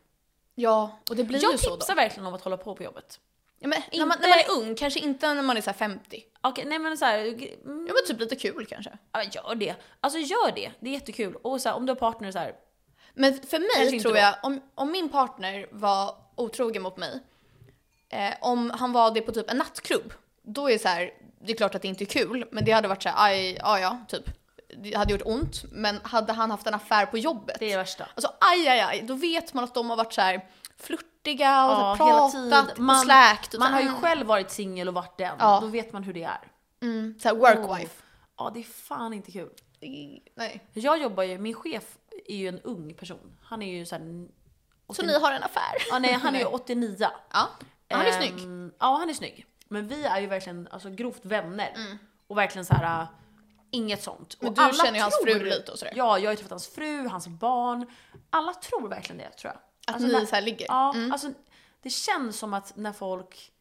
S2: Ja, och det blir ju
S1: jag
S2: så då.
S1: tipsar verkligen om att hålla på på jobbet.
S2: Ja, men när, man,
S1: Inte-
S2: när man är ung, kanske inte när man är så här 50.
S1: Okej, nej men så här, mm,
S2: Ja men typ lite kul kanske.
S1: ja, gör det. Alltså gör det, det är jättekul. Och så här, om du har partner så här,
S2: Men för mig
S1: Kanske inte
S2: tror
S1: då.
S2: jag, om, om min partner var otrogen mot mig, eh, om han var det på typ en nattklubb, då är det så här, det är klart att det inte är kul, men det hade varit så här, aj, ja ja, typ. Det hade gjort ont, men hade han haft en affär på jobbet,
S1: det är det värsta.
S2: alltså aj aj aj, då vet man att de har varit så här flörtiga och
S1: Ja,
S2: så här,
S1: hela
S2: pratat
S1: tiden. Man-
S2: och släkt. Och
S1: Man
S2: så
S1: har
S2: här,
S1: ju
S2: mm,
S1: själv varit singel och varit den,
S2: Ja.
S1: då vet man hur det är.
S2: mm, så här workwife.
S1: Ja det är fan inte kul.
S2: Nej.
S1: Jag jobbar ju, min chef är ju en ung person. Han är ju såhär...
S2: Så ni har en affär?
S1: Ja, nej, han är ju 89.
S2: Ja, han är
S1: Ehm,
S2: snygg.
S1: Ja, han är snygg. Men vi är ju verkligen alltså, grovt vänner. Och verkligen så här. äh, inget sånt.
S2: Mm. Men
S1: och
S2: du känner ju hans fru lite och sådär.
S1: Ja, jag har ju träffat hans fru, hans barn. Alla tror verkligen det tror jag.
S2: Att
S1: Alltså,
S2: ni Mm.
S1: när-
S2: så här ligger?
S1: Ja, alltså det känns som att när folk...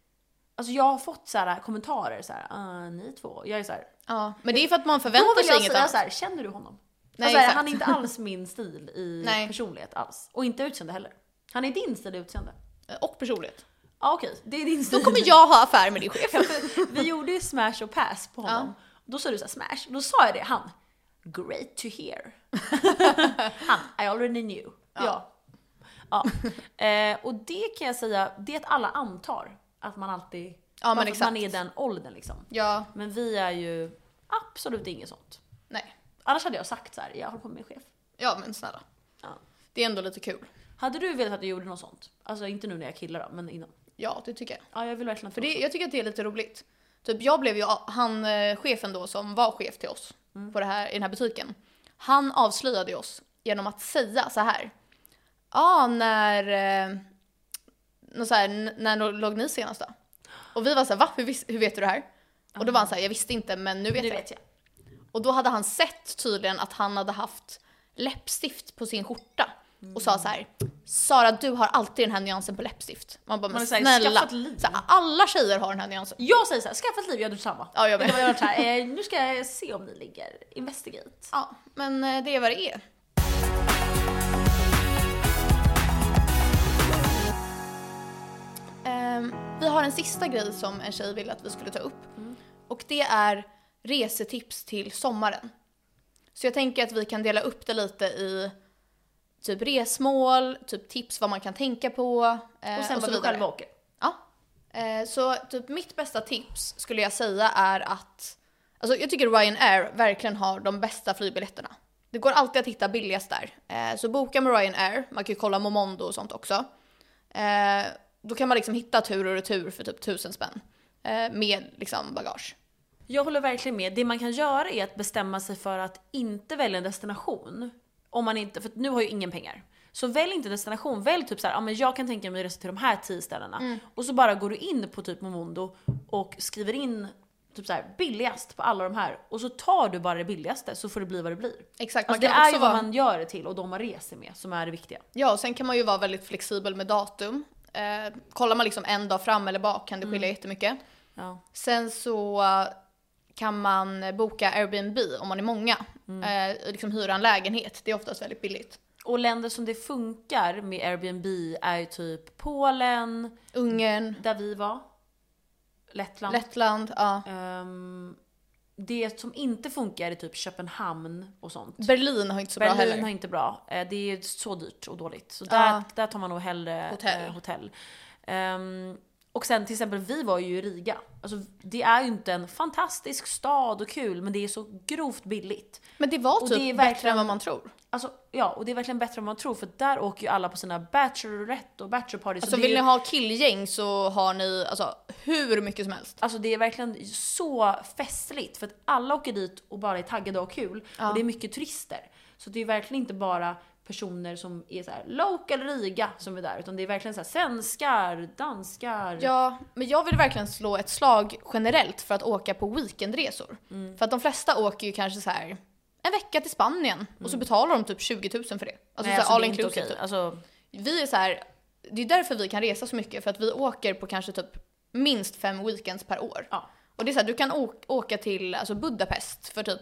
S1: Alltså jag har fått så här kommentarer så här, "Ah, ni två. Jag är så här,
S2: Ja, men det är för att man
S1: då
S2: förväntar
S1: vill
S2: sig
S1: jag
S2: inget
S1: säga
S2: annat.
S1: så här, känner du honom?
S2: Nej,
S1: alltså, så här,
S2: exakt.
S1: han är inte alls min stil i
S2: Nej.
S1: personlighet alls. Och inte utseende heller. Han är din stil i utseende.
S2: Och personlighet.
S1: Ja okej, det är din stil.
S2: Då kommer jag ha affär med din chef.
S1: Vi gjorde ju smash och pass på honom. Då sa du så här, smash, då sa jag det, han “Great to hear”. han “I already knew”. Ja. ja. Eh, och det kan jag säga, det är att alla antar att man alltid,
S2: Ja,
S1: bara
S2: men
S1: för att
S2: exakt.
S1: man är i den åldern liksom.
S2: Ja,
S1: Men vi är ju absolut inget sånt.
S2: nej.
S1: Annars hade jag sagt så här, jag håller på med min chef.
S2: Ja men snälla.
S1: Ja.
S2: Det är ändå lite kul.
S1: Hade du velat att du gjorde något sånt? Alltså inte nu när jag killar då, men innan.
S2: Ja, det tycker jag.
S1: Ja, jag vill verkligen att
S2: För det, jag tycker att det är lite roligt. Typ jag blev ju, han eh, chefen då som var chef till oss
S1: Mm.
S2: på det här, i den här butiken. Han avslöjade oss genom att säga så här. Ja, när, eh, nå- så här, n- när lo- låg ni senast då? Och vi var så här, va? Hur, vis- hur vet du det här? Och då var han så här, jag visste inte men nu vet
S1: Nu
S2: jag.
S1: vet jag.
S2: Och då hade han sett tydligen att han hade haft läppstift på sin skjorta. Och
S1: Mm.
S2: sa så här: Sara du har alltid den här nyansen på läppstift. Man bara, men
S1: Man är så här,
S2: snälla.
S1: skaffat liv.
S2: Så här, alla tjejer har den här nyansen.
S1: Jag säger såhär, skaffa ett liv, gör du samma.
S2: Ja, jag med.
S1: Det var varit så här, eh, nu ska jag se om ni ligger. Investigate.
S2: Ja, men eh, det är vad det är. Ehm, Vi har en sista grej som en tjej ville att vi skulle ta upp.
S1: Mm.
S2: Och det är resetips till sommaren. Så jag tänker att vi kan dela upp det lite i typ resmål, typ tips vad man kan tänka på. eh,
S1: Och sen vad vi själva åker.
S2: Ja. Eh, så typ mitt bästa tips skulle jag säga är att, alltså jag tycker Ryanair verkligen har de bästa flygbiljetterna. Det går alltid att hitta billigast där. Eh, så boka med Ryanair, man kan ju kolla Momondo och sånt också. Eh, då kan man liksom hitta tur och retur för typ tusen spänn. Eh, med liksom bagage.
S1: Jag håller verkligen med. Det man kan göra är att bestämma sig för att inte välja en destination. Om man inte, för att nu har ju ingen pengar. Så välj inte destination, välj typ såhär, ja men jag kan tänka mig att resa till de här tio ställena. Och så bara går du in på typ Momondo och skriver in typ såhär billigast på alla de här. Och så tar du bara det billigaste så får det bli vad det blir.
S2: Exakt,
S1: Alltså, det
S2: man kan
S1: är ju
S2: också
S1: vad
S2: vara...
S1: man gör det till och de man reser med som är det viktiga.
S2: Ja, och sen kan man ju vara väldigt flexibel med datum. Eh, kollar man liksom en dag fram eller bak kan det
S1: Mm.
S2: skilja jättemycket.
S1: Ja.
S2: Sen så eh, kan man boka Airbnb om man är många.
S1: Mm.
S2: Eh, och liksom hyra en lägenhet, det är oftast väldigt billigt.
S1: Och länder som det funkar med Airbnb är ju typ Polen,
S2: Ungern,
S1: där vi var. Lettland.
S2: Lettland, ja.
S1: Ehm, det som inte funkar är typ Köpenhamn och sånt.
S2: Berlin har inte så bra
S1: Berlin
S2: heller.
S1: har inte bra. Eh, Det är så dyrt och dåligt. Så där,
S2: Ja.
S1: där tar man nog hellre
S2: Hotell.
S1: eh, hotell. Ehm, och sen till exempel, vi var ju i Riga. Alltså, det är ju inte en fantastisk stad och kul, men det är så grovt billigt.
S2: Men det var
S1: Och
S2: typ
S1: det är
S2: bättre
S1: verkligen-
S2: än vad man tror.
S1: Alltså, ja, och det är verkligen bättre än vad man tror, för där åker ju alla på sina bachelorette och bachelorparty.
S2: Alltså
S1: så det
S2: vill
S1: är
S2: ni
S1: ju-
S2: ha killgäng så har ni alltså hur mycket som helst.
S1: Alltså det är verkligen så festligt för att alla åker dit och bara är taggade och har kul. Och det är mycket turister. Så det är verkligen inte bara personer som är så här local Riga som är där utan det är verkligen så här svenskar, danskar.
S2: Ja, alltså men jag vill verkligen slå ett slag generellt för att åka på weekendresor.
S1: Mm.
S2: För att de flesta åker ju kanske så här en vecka till Spanien och så betalar de typ 20 000 för det. Alltså,
S1: Mm. Nej,
S2: så här, all
S1: det är inte
S2: inclusive
S1: okej.
S2: typ.
S1: Alltså,
S2: Vi är så här, det är därför vi kan resa så mycket för att vi åker på kanske typ minst fem weekends per år.
S1: ja.
S2: Och det är så här, du kan åka, åka till alltså Budapest för typ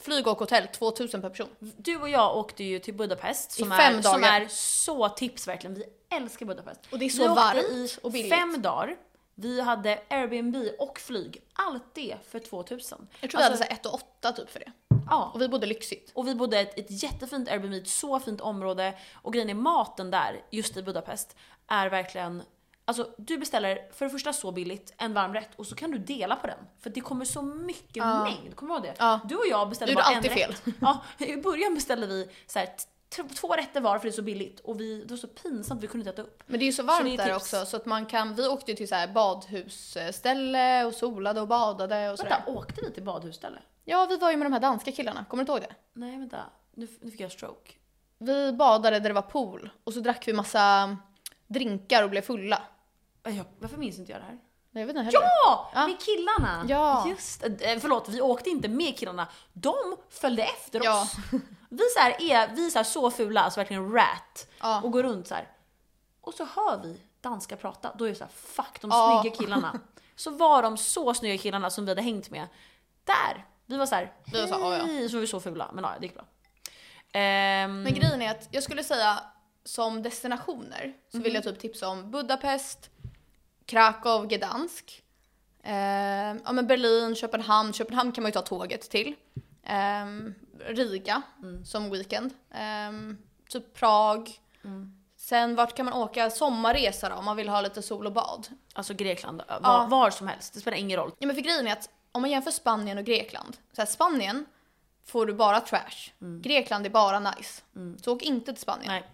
S2: flyg och hotell 2000 per person.
S1: Du och jag åkte ju till Budapest som,
S2: fem
S1: är, som
S2: dagar.
S1: är så tips verkligen. Vi älskar Budapest.
S2: Och det är så
S1: vi åkte
S2: varmt och billigt.
S1: fem dagar. Vi hade Airbnb och flyg. Allt det för 2000.
S2: Jag tror vi hade så här 1 och 8 typ för det.
S1: ja.
S2: Alltså- Och vi bodde lyxigt.
S1: Och vi bodde i ett, ett jättefint Airbnb, ett så fint område. Och grejen är maten där, just i Budapest, är verkligen... Alltså du beställer för det första så billigt en varmrätt och så kan du dela på den. För det kommer så mycket mängd, kommer du ihåg det?
S2: Ja.
S1: Du och jag beställde
S2: Du gjorde
S1: bara en
S2: alltid
S1: rätt. Ja, I början beställde vi så här, t- t- två rätter var för det är så billigt och vi, det var så pinsamt, vi kunde inte äta upp.
S2: Men det är ju så
S1: Så
S2: varmt
S1: det är
S2: där
S1: tips.
S2: också så att man kan, vi åkte ju till så här badhusställe och solade och badade och sådär.
S1: Vänta, åkte vi till badhusställe?
S2: Ja vi var ju med de här danska killarna, kommer du inte ihåg det?
S1: Nej vänta, nu, nu fick jag stroke.
S2: Vi badade där det var pool och så drack vi massa drinkar och blev fulla.
S1: Aj, jag- Varför minns inte jag det här?
S2: Nej, Jag vet inte heller.
S1: Ja!
S2: Ja.
S1: Med killarna!
S2: Ja.
S1: Just, eh, förlåt, vi åkte inte med killarna. De följde efter
S2: Ja.
S1: oss. Vi så här är vi så, här så fula, alltså verkligen rat.
S2: Ja.
S1: Och går runt så här. Och så hör vi danska prata. Då är det så här, fuck de
S2: Ja.
S1: snygga killarna. Så var de så snygga killarna som vi hade hängt med. Där! Vi var så här,
S2: Vi var så här, ja, ja.
S1: "Hej", så var vi så fula. Men ja, det gick bra. Ehm,
S2: Men grejen är att jag skulle säga som destinationer så vill jag typ tipsa om Budapest, Krakow, Gdansk. Eh, ja men Berlin, Köpenhamn. Köpenhamn kan man ju ta tåget till. Eh, Riga som weekend. Eh, typ Prag.
S1: mm.
S2: Sen vart kan man åka? Sommarresa då om man vill ha lite sol och bad.
S1: alltså Grekland, var,
S2: Ja.
S1: var som helst. Det spelar ingen roll.
S2: Ja men för grejen är att om man jämför Spanien och Grekland. Så här, Spanien får du bara trash. Grekland är bara nice. Så åk inte till Spanien.
S1: Nej.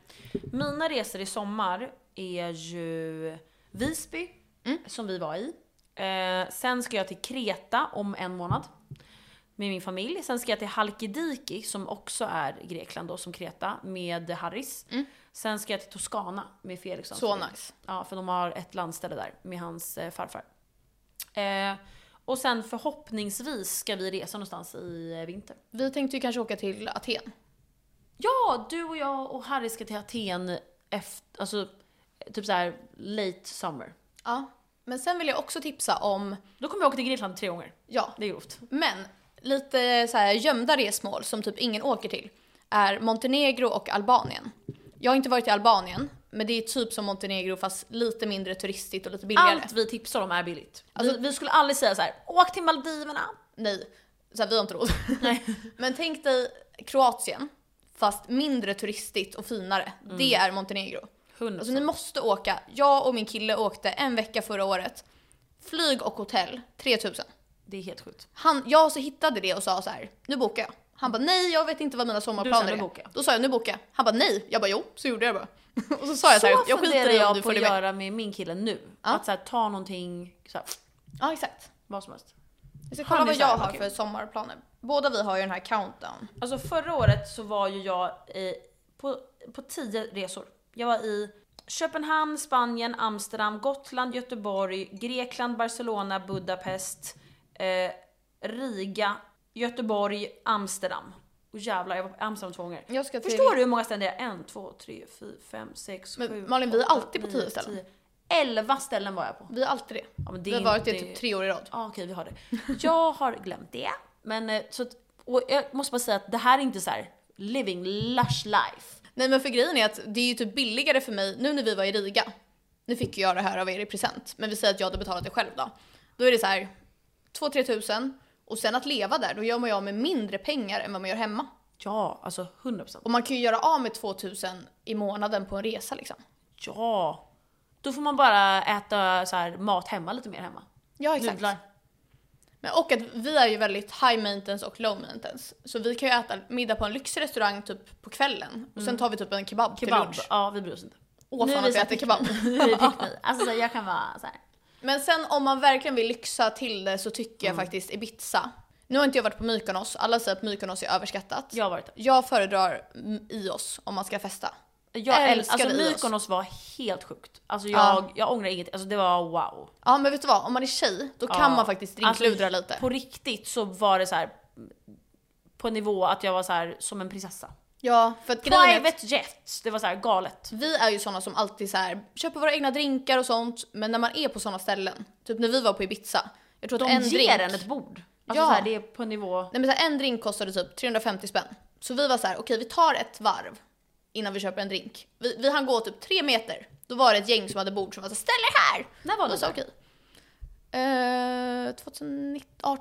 S1: Mina resor i sommar är ju Visby, som vi var i. Eh, sen ska jag till Kreta om en månad med min familj. Sen ska jag till Halkidiki som också är Grekland då, som Kreta, med Harris. Sen ska jag till Toscana med Felix och hans
S2: Så
S1: familj.
S2: nice.
S1: Ja, för de har ett landställe där med hans eh, farfar. Eh, och sen förhoppningsvis ska vi resa någonstans i eh, vinter.
S2: Vi tänkte ju kanske åka till Aten.
S1: Ja, du och jag och Harry ska till Aten efter, alltså typ så här late summer.
S2: Ja. Men sen vill jag också tipsa om,
S1: Då kommer jag åka till Grekland tre gånger.
S2: ja,
S1: Det är grovt.
S2: men lite så här gömda resmål som typ ingen åker till är Montenegro och Albanien. Jag har inte varit i Albanien, men det är typ som Montenegro fast lite mindre turistigt och lite billigare.
S1: Allt vi tipsar om är billigt.
S2: Alltså-
S1: vi, vi skulle aldrig säga så här: åk till Maldiverna.
S2: Nej, så här, vi har inte råd.
S1: Nej.
S2: men tänk dig Kroatien fast mindre turistigt och finare.
S1: Mm.
S2: Det är Montenegro.
S1: 100%.
S2: Alltså ni måste åka. Jag och min kille åkte en vecka förra året. Flyg och hotell, 3000.
S1: det är helt sjukt.
S2: Han, jag så hittade det och sa så här, nu bokar jag. Han bara nej, jag vet inte vad mina
S1: Du
S2: sommarplaner
S1: sa, "Nu
S2: är.
S1: bokar jag."
S2: Då sa jag nu bokar jag. Han bara nej. Jag bara jo, så gjorde jag bara. och så sa jag så här,
S1: Så
S2: jag skiter
S1: funderar
S2: i om du
S1: jag på att
S2: följer med.
S1: göra med min kille nu. Att så här, ta någonting, så här,
S2: Ja exakt.
S1: vad som helst.
S2: Jag ska
S1: Han
S2: kolla
S1: är
S2: vad
S1: så här,
S2: jag
S1: "Vad
S2: har
S1: kul."
S2: för sommarplaner. Båda vi har ju den här countdown.
S1: Alltså förra året så var ju jag eh, på, på tio resor. Jag var i Köpenhamn, Spanien, Amsterdam, Gotland, Göteborg, Grekland, Barcelona, Budapest, eh, Riga, Göteborg, Amsterdam. Och jävlar, jag var på Amsterdam två gånger.
S2: Jag ska till...
S1: Förstår du hur många ställen det är? En, två, tre, fyra, fem, sex,
S2: Men
S1: sju,
S2: Malin, vi är
S1: åtta,
S2: alltid på
S1: nio,
S2: tio ställen.
S1: Elva ställen var jag på.
S2: Vi är alltid det.
S1: Ja, men det
S2: Vi
S1: är
S2: har varit det
S1: inte-
S2: typ tre år i rad.
S1: Ja, okej, vi har det. Jag har glömt det. Men eh, så att, och jag måste bara säga att det här är inte så här living lush life.
S2: Nej men för grejen är att det är ju typ billigare för mig, nu när vi var i Riga, nu fick ju jag det här av er i present, men vi säger att jag hade betalat det själv då. Då Då är det så här 2-3 tusen och sen att leva där, då gör man ju av med mindre pengar än vad man gör hemma.
S1: Ja, alltså 100%.
S2: Och man kan ju göra av med 2000 i månaden på en resa liksom.
S1: Ja! Då får man bara äta så här, mat hemma lite mer hemma.
S2: Ja exakt.
S1: Nudlar.
S2: Men, och att vi är ju väldigt high maintenance och low maintenance. Så vi kan ju äta middag på en lyxrestaurang typ på kvällen och sen tar vi typ en kebab, till
S1: Kebab.
S2: lunch.
S1: Ja, vi bryr oss inte.
S2: Åh
S1: Nu
S2: fan
S1: är vi
S2: att vi
S1: så
S2: äter kebab.
S1: Nu är det pick me. Alltså så jag kan vara så här.
S2: Men sen om man verkligen vill lyxa till det så tycker jag faktiskt Ibiza. Nu har inte jag varit på Mykonos, alla säger att Mykonos är överskattat.
S1: Jag har varit där.
S2: Jag föredrar mm, Ios om man ska festa.
S1: Jag
S2: älskade
S1: älskade alltså,
S2: Ios.
S1: Mykonos var helt sjukt. Alltså
S2: Ja.
S1: jag, jag ångrar inget. Alltså det var wow.
S2: Ja men vet du vad, om man är tjej då
S1: Ja.
S2: kan man faktiskt drinkludra
S1: Alltså,
S2: lite.
S1: På riktigt så var det så här på en nivå att jag var så här som en prinsessa.
S2: Ja, för att grejen är att
S1: Private jet, det var så här galet.
S2: vi är ju sådana som alltid så här, köper våra egna drinkar och sånt. Men när man är på sådana ställen, typ när vi var på Ibiza. Jag tror att
S1: De
S2: en
S1: ger
S2: drink,
S1: en ett bord. Alltså
S2: Ja.
S1: så här, det är på en nivå.
S2: Nej men så här, en drink kostade typ 350 spänn. Så vi var så här, okej vi tar ett varv innan vi köper en drink. Vi, vi hann gå typ tre meter. Då var det ett gäng som hade bord som var så här, ställ er här!
S1: När var
S2: Och
S1: det?
S2: så
S1: där?
S2: okej. Eh, 2018
S1: Ja,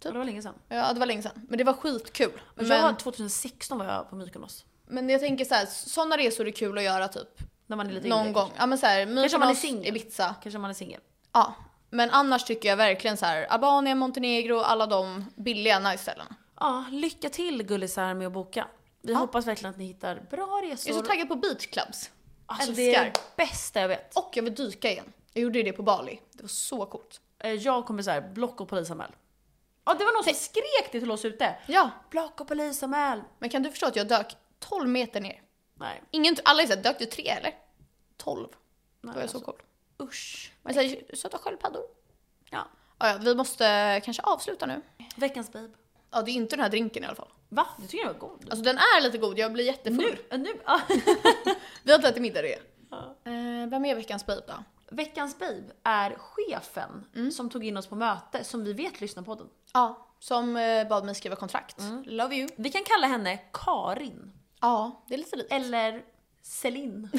S2: typ.
S1: Det var länge sedan.
S2: Ja det var länge sedan. Men det var skitkul.
S1: Men...
S2: Men,
S1: Jag, 2016 var jag på Mykonos.
S2: men jag tänker så här, sådana resor är kul att göra typ
S1: När man är lite
S2: någon
S1: yngre,
S2: gång. Ja men så här,
S1: Kanske om man är
S2: Mykonos,
S1: singel.
S2: Ibiza.
S1: Kanske, kanske man är singel.
S2: Ja, men annars tycker jag verkligen så här Albanien, Montenegro, alla de billiga nice ställena.
S1: Ja, lycka till gullisar med att boka. Vi hoppas verkligen att ni hittar bra resor.
S2: Jag är så taggad på beachclubs.
S1: alltså,
S2: älskar.
S1: det är det bästa jag vet.
S2: Och jag vill dyka igen. Jag gjorde ju det på Bali. Det var så coolt.
S1: Eh, Jag kommer så här, block och polisanmäl. Ja, det var någon som skrek det till oss ute.
S2: Ja,
S1: Block och polisanmäl.
S2: men kan du förstå att jag dök 12 meter ner?
S1: Nej,
S2: Ingen, alla är såhär, dök du tre eller? 12. Det
S1: nej
S2: var ju
S1: alltså.
S2: så coolt.
S1: usch.
S2: Men såhär, söta sköldpaddor.
S1: Ja.
S2: Ja, ja, vi måste kanske avsluta nu.
S1: Veckans babe.
S2: Ja, det är inte den här drinken i alla fall.
S1: Va? Du tycker den var god?
S2: Alltså den är lite god, jag blir jättefull.
S1: Nu? eh, nu? ja.
S2: Vi har inte ätit middag det.
S1: Ja.
S2: Eh, vem är veckans babe då?
S1: Veckans babe är chefen som tog in oss på möte, som vi vet lyssnar på den.
S2: Ja, som eh, bad mig skriva kontrakt. Mm. Love you.
S1: Vi kan kalla henne Karin.
S2: Ja, det är lite lite.
S1: Eller Celine.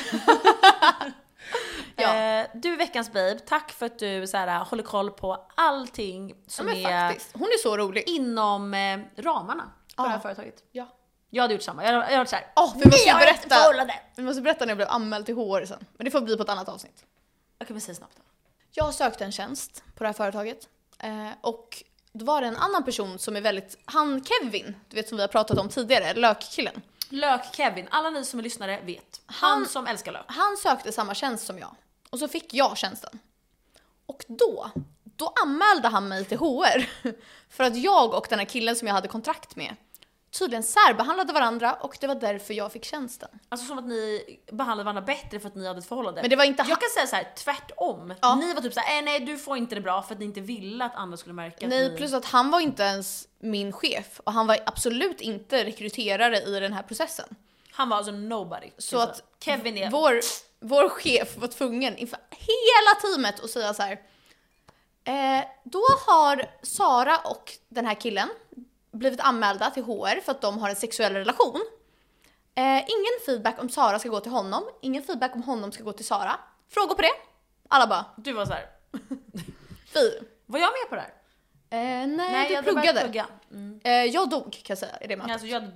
S2: Ja.
S1: Eh, Du är veckans babe, tack för att du så här, eh, håller koll på allting
S2: Ja,
S1: som
S2: men
S1: är
S2: faktiskt. Hon är så rolig.
S1: inom eh, ramarna för
S2: Ja.
S1: det här företaget.
S2: Ja.
S1: Jag hade gjort samma, jag hade, jag hade varit såhär
S2: Åh, vi måste
S1: har ett
S2: berätta.
S1: förhållande!
S2: Vi måste berätta när jag blev anmäld till HR sen. Men det får bli på ett annat avsnitt.
S1: Okej men säg snabbt då.
S2: Jag sökte en tjänst på det här företaget. Eh, och då var det en annan person som är väldigt, han Kevin, du vet som vi har pratat om tidigare, lökkillen.
S1: Lök-Kevin, alla ni som är lyssnare vet. Han,
S2: Han-
S1: som älskar lök.
S2: Han sökte samma tjänst som jag. Och så fick jag tjänsten. Och då, då anmälde han mig till HR. För att jag och den här killen som jag hade kontrakt med tydligen särbehandlade varandra och det var därför jag fick tjänsten.
S1: Alltså som att ni behandlade varandra bättre för att ni hade ett förhållande.
S2: Men det var inte han.
S1: Jag kan säga så här: tvärtom.
S2: Ja.
S1: Ni var typ såhär, eh, nej du får inte det bra för att ni inte ville att andra skulle märka att
S2: Nej,
S1: ni...
S2: plus att han var inte ens min chef och han var absolut inte rekryterare i den här processen.
S1: Han var alltså nobody.
S2: Så att
S1: Kevin är...
S2: Vår, vår chef var tvungen inför hela teamet att säga så här. Eh, då har Sara och den här killen blivit anmälda till HR för att de har en sexuell relation. Eh, ingen feedback om Sara ska gå till honom, ingen feedback om honom ska gå till Sara. Frågor på det? Alla bara,
S1: Du var så här.
S2: fy.
S1: var jag med på det här?
S2: Eh, nej, du
S1: jag hade börjat
S2: pluggade.
S1: Plugga. Mm.
S2: Eh, jag dog kan jag säga i det mötet.
S1: Alltså jag hade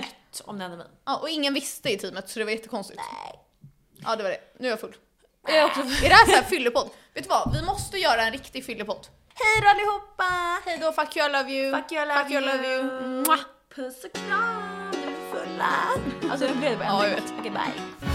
S1: dött om det hände mig.
S2: Ja, och ingen visste i teamet så det var jättekonstigt.
S1: Nej.
S2: Ja, det var det. Nu är jag full.
S1: Jag är också...
S2: Är det här så här fyllepodd? Vet du vad? Vi måste göra en riktig fyllepodd.
S1: Hej då allihopa!
S2: Hej då, fuck you, I love you.
S1: Fuck you, I love
S2: Fuck you, I love you.
S1: Mwah. Puss och kram, nu är vi fulla. Alltså jag blev det bara
S2: Ja,
S1: en
S2: jag
S1: minut. Okej, bye.